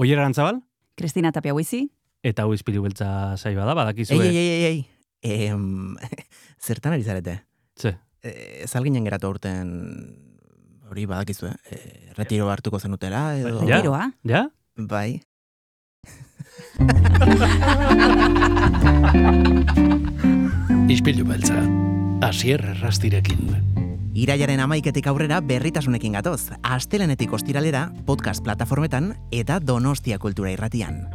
Oier Arantzabal, Kristina Tapia Huizi, eta hau izpilu beltza saioa da, Ei, badakizue. ei, ei, ei, ei. Em, zertan ari zarete? Ze, E, ez alginen geratu aurten hori badakizue, eh? retiro hartuko zenutela edo... Ja. Tiroa, ja? Bai. Ispilu beltza, asier errastirekin. Iraiaren amaiketik aurrera berritasunekin gatoz, astelenetik ostiralera, podcast plataformetan eta donostia kultura irratian.